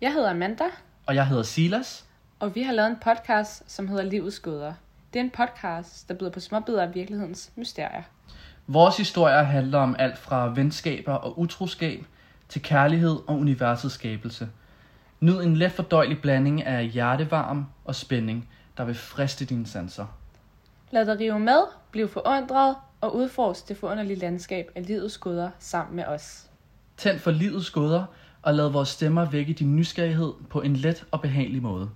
Jeg hedder Amanda, Og jeg hedder Silas. og vi har lavet en podcast, som hedder Livets Gåder. Det er en podcast, der byder på småbidder af virkelighedens mysterier. Vores historier handler om alt fra venskaber og utroskab til kærlighed og universets skabelse. Nyd en let fordøjelig blanding af hjertevarm og spænding, der vil friste dine sanser. Lad dig rive med, bliv forundret og udforsk det forunderlige landskab af livets gåder sammen med os. Tænd for livets gåder og lad vores stemmer vække din nysgerrighed på en let og behagelig måde.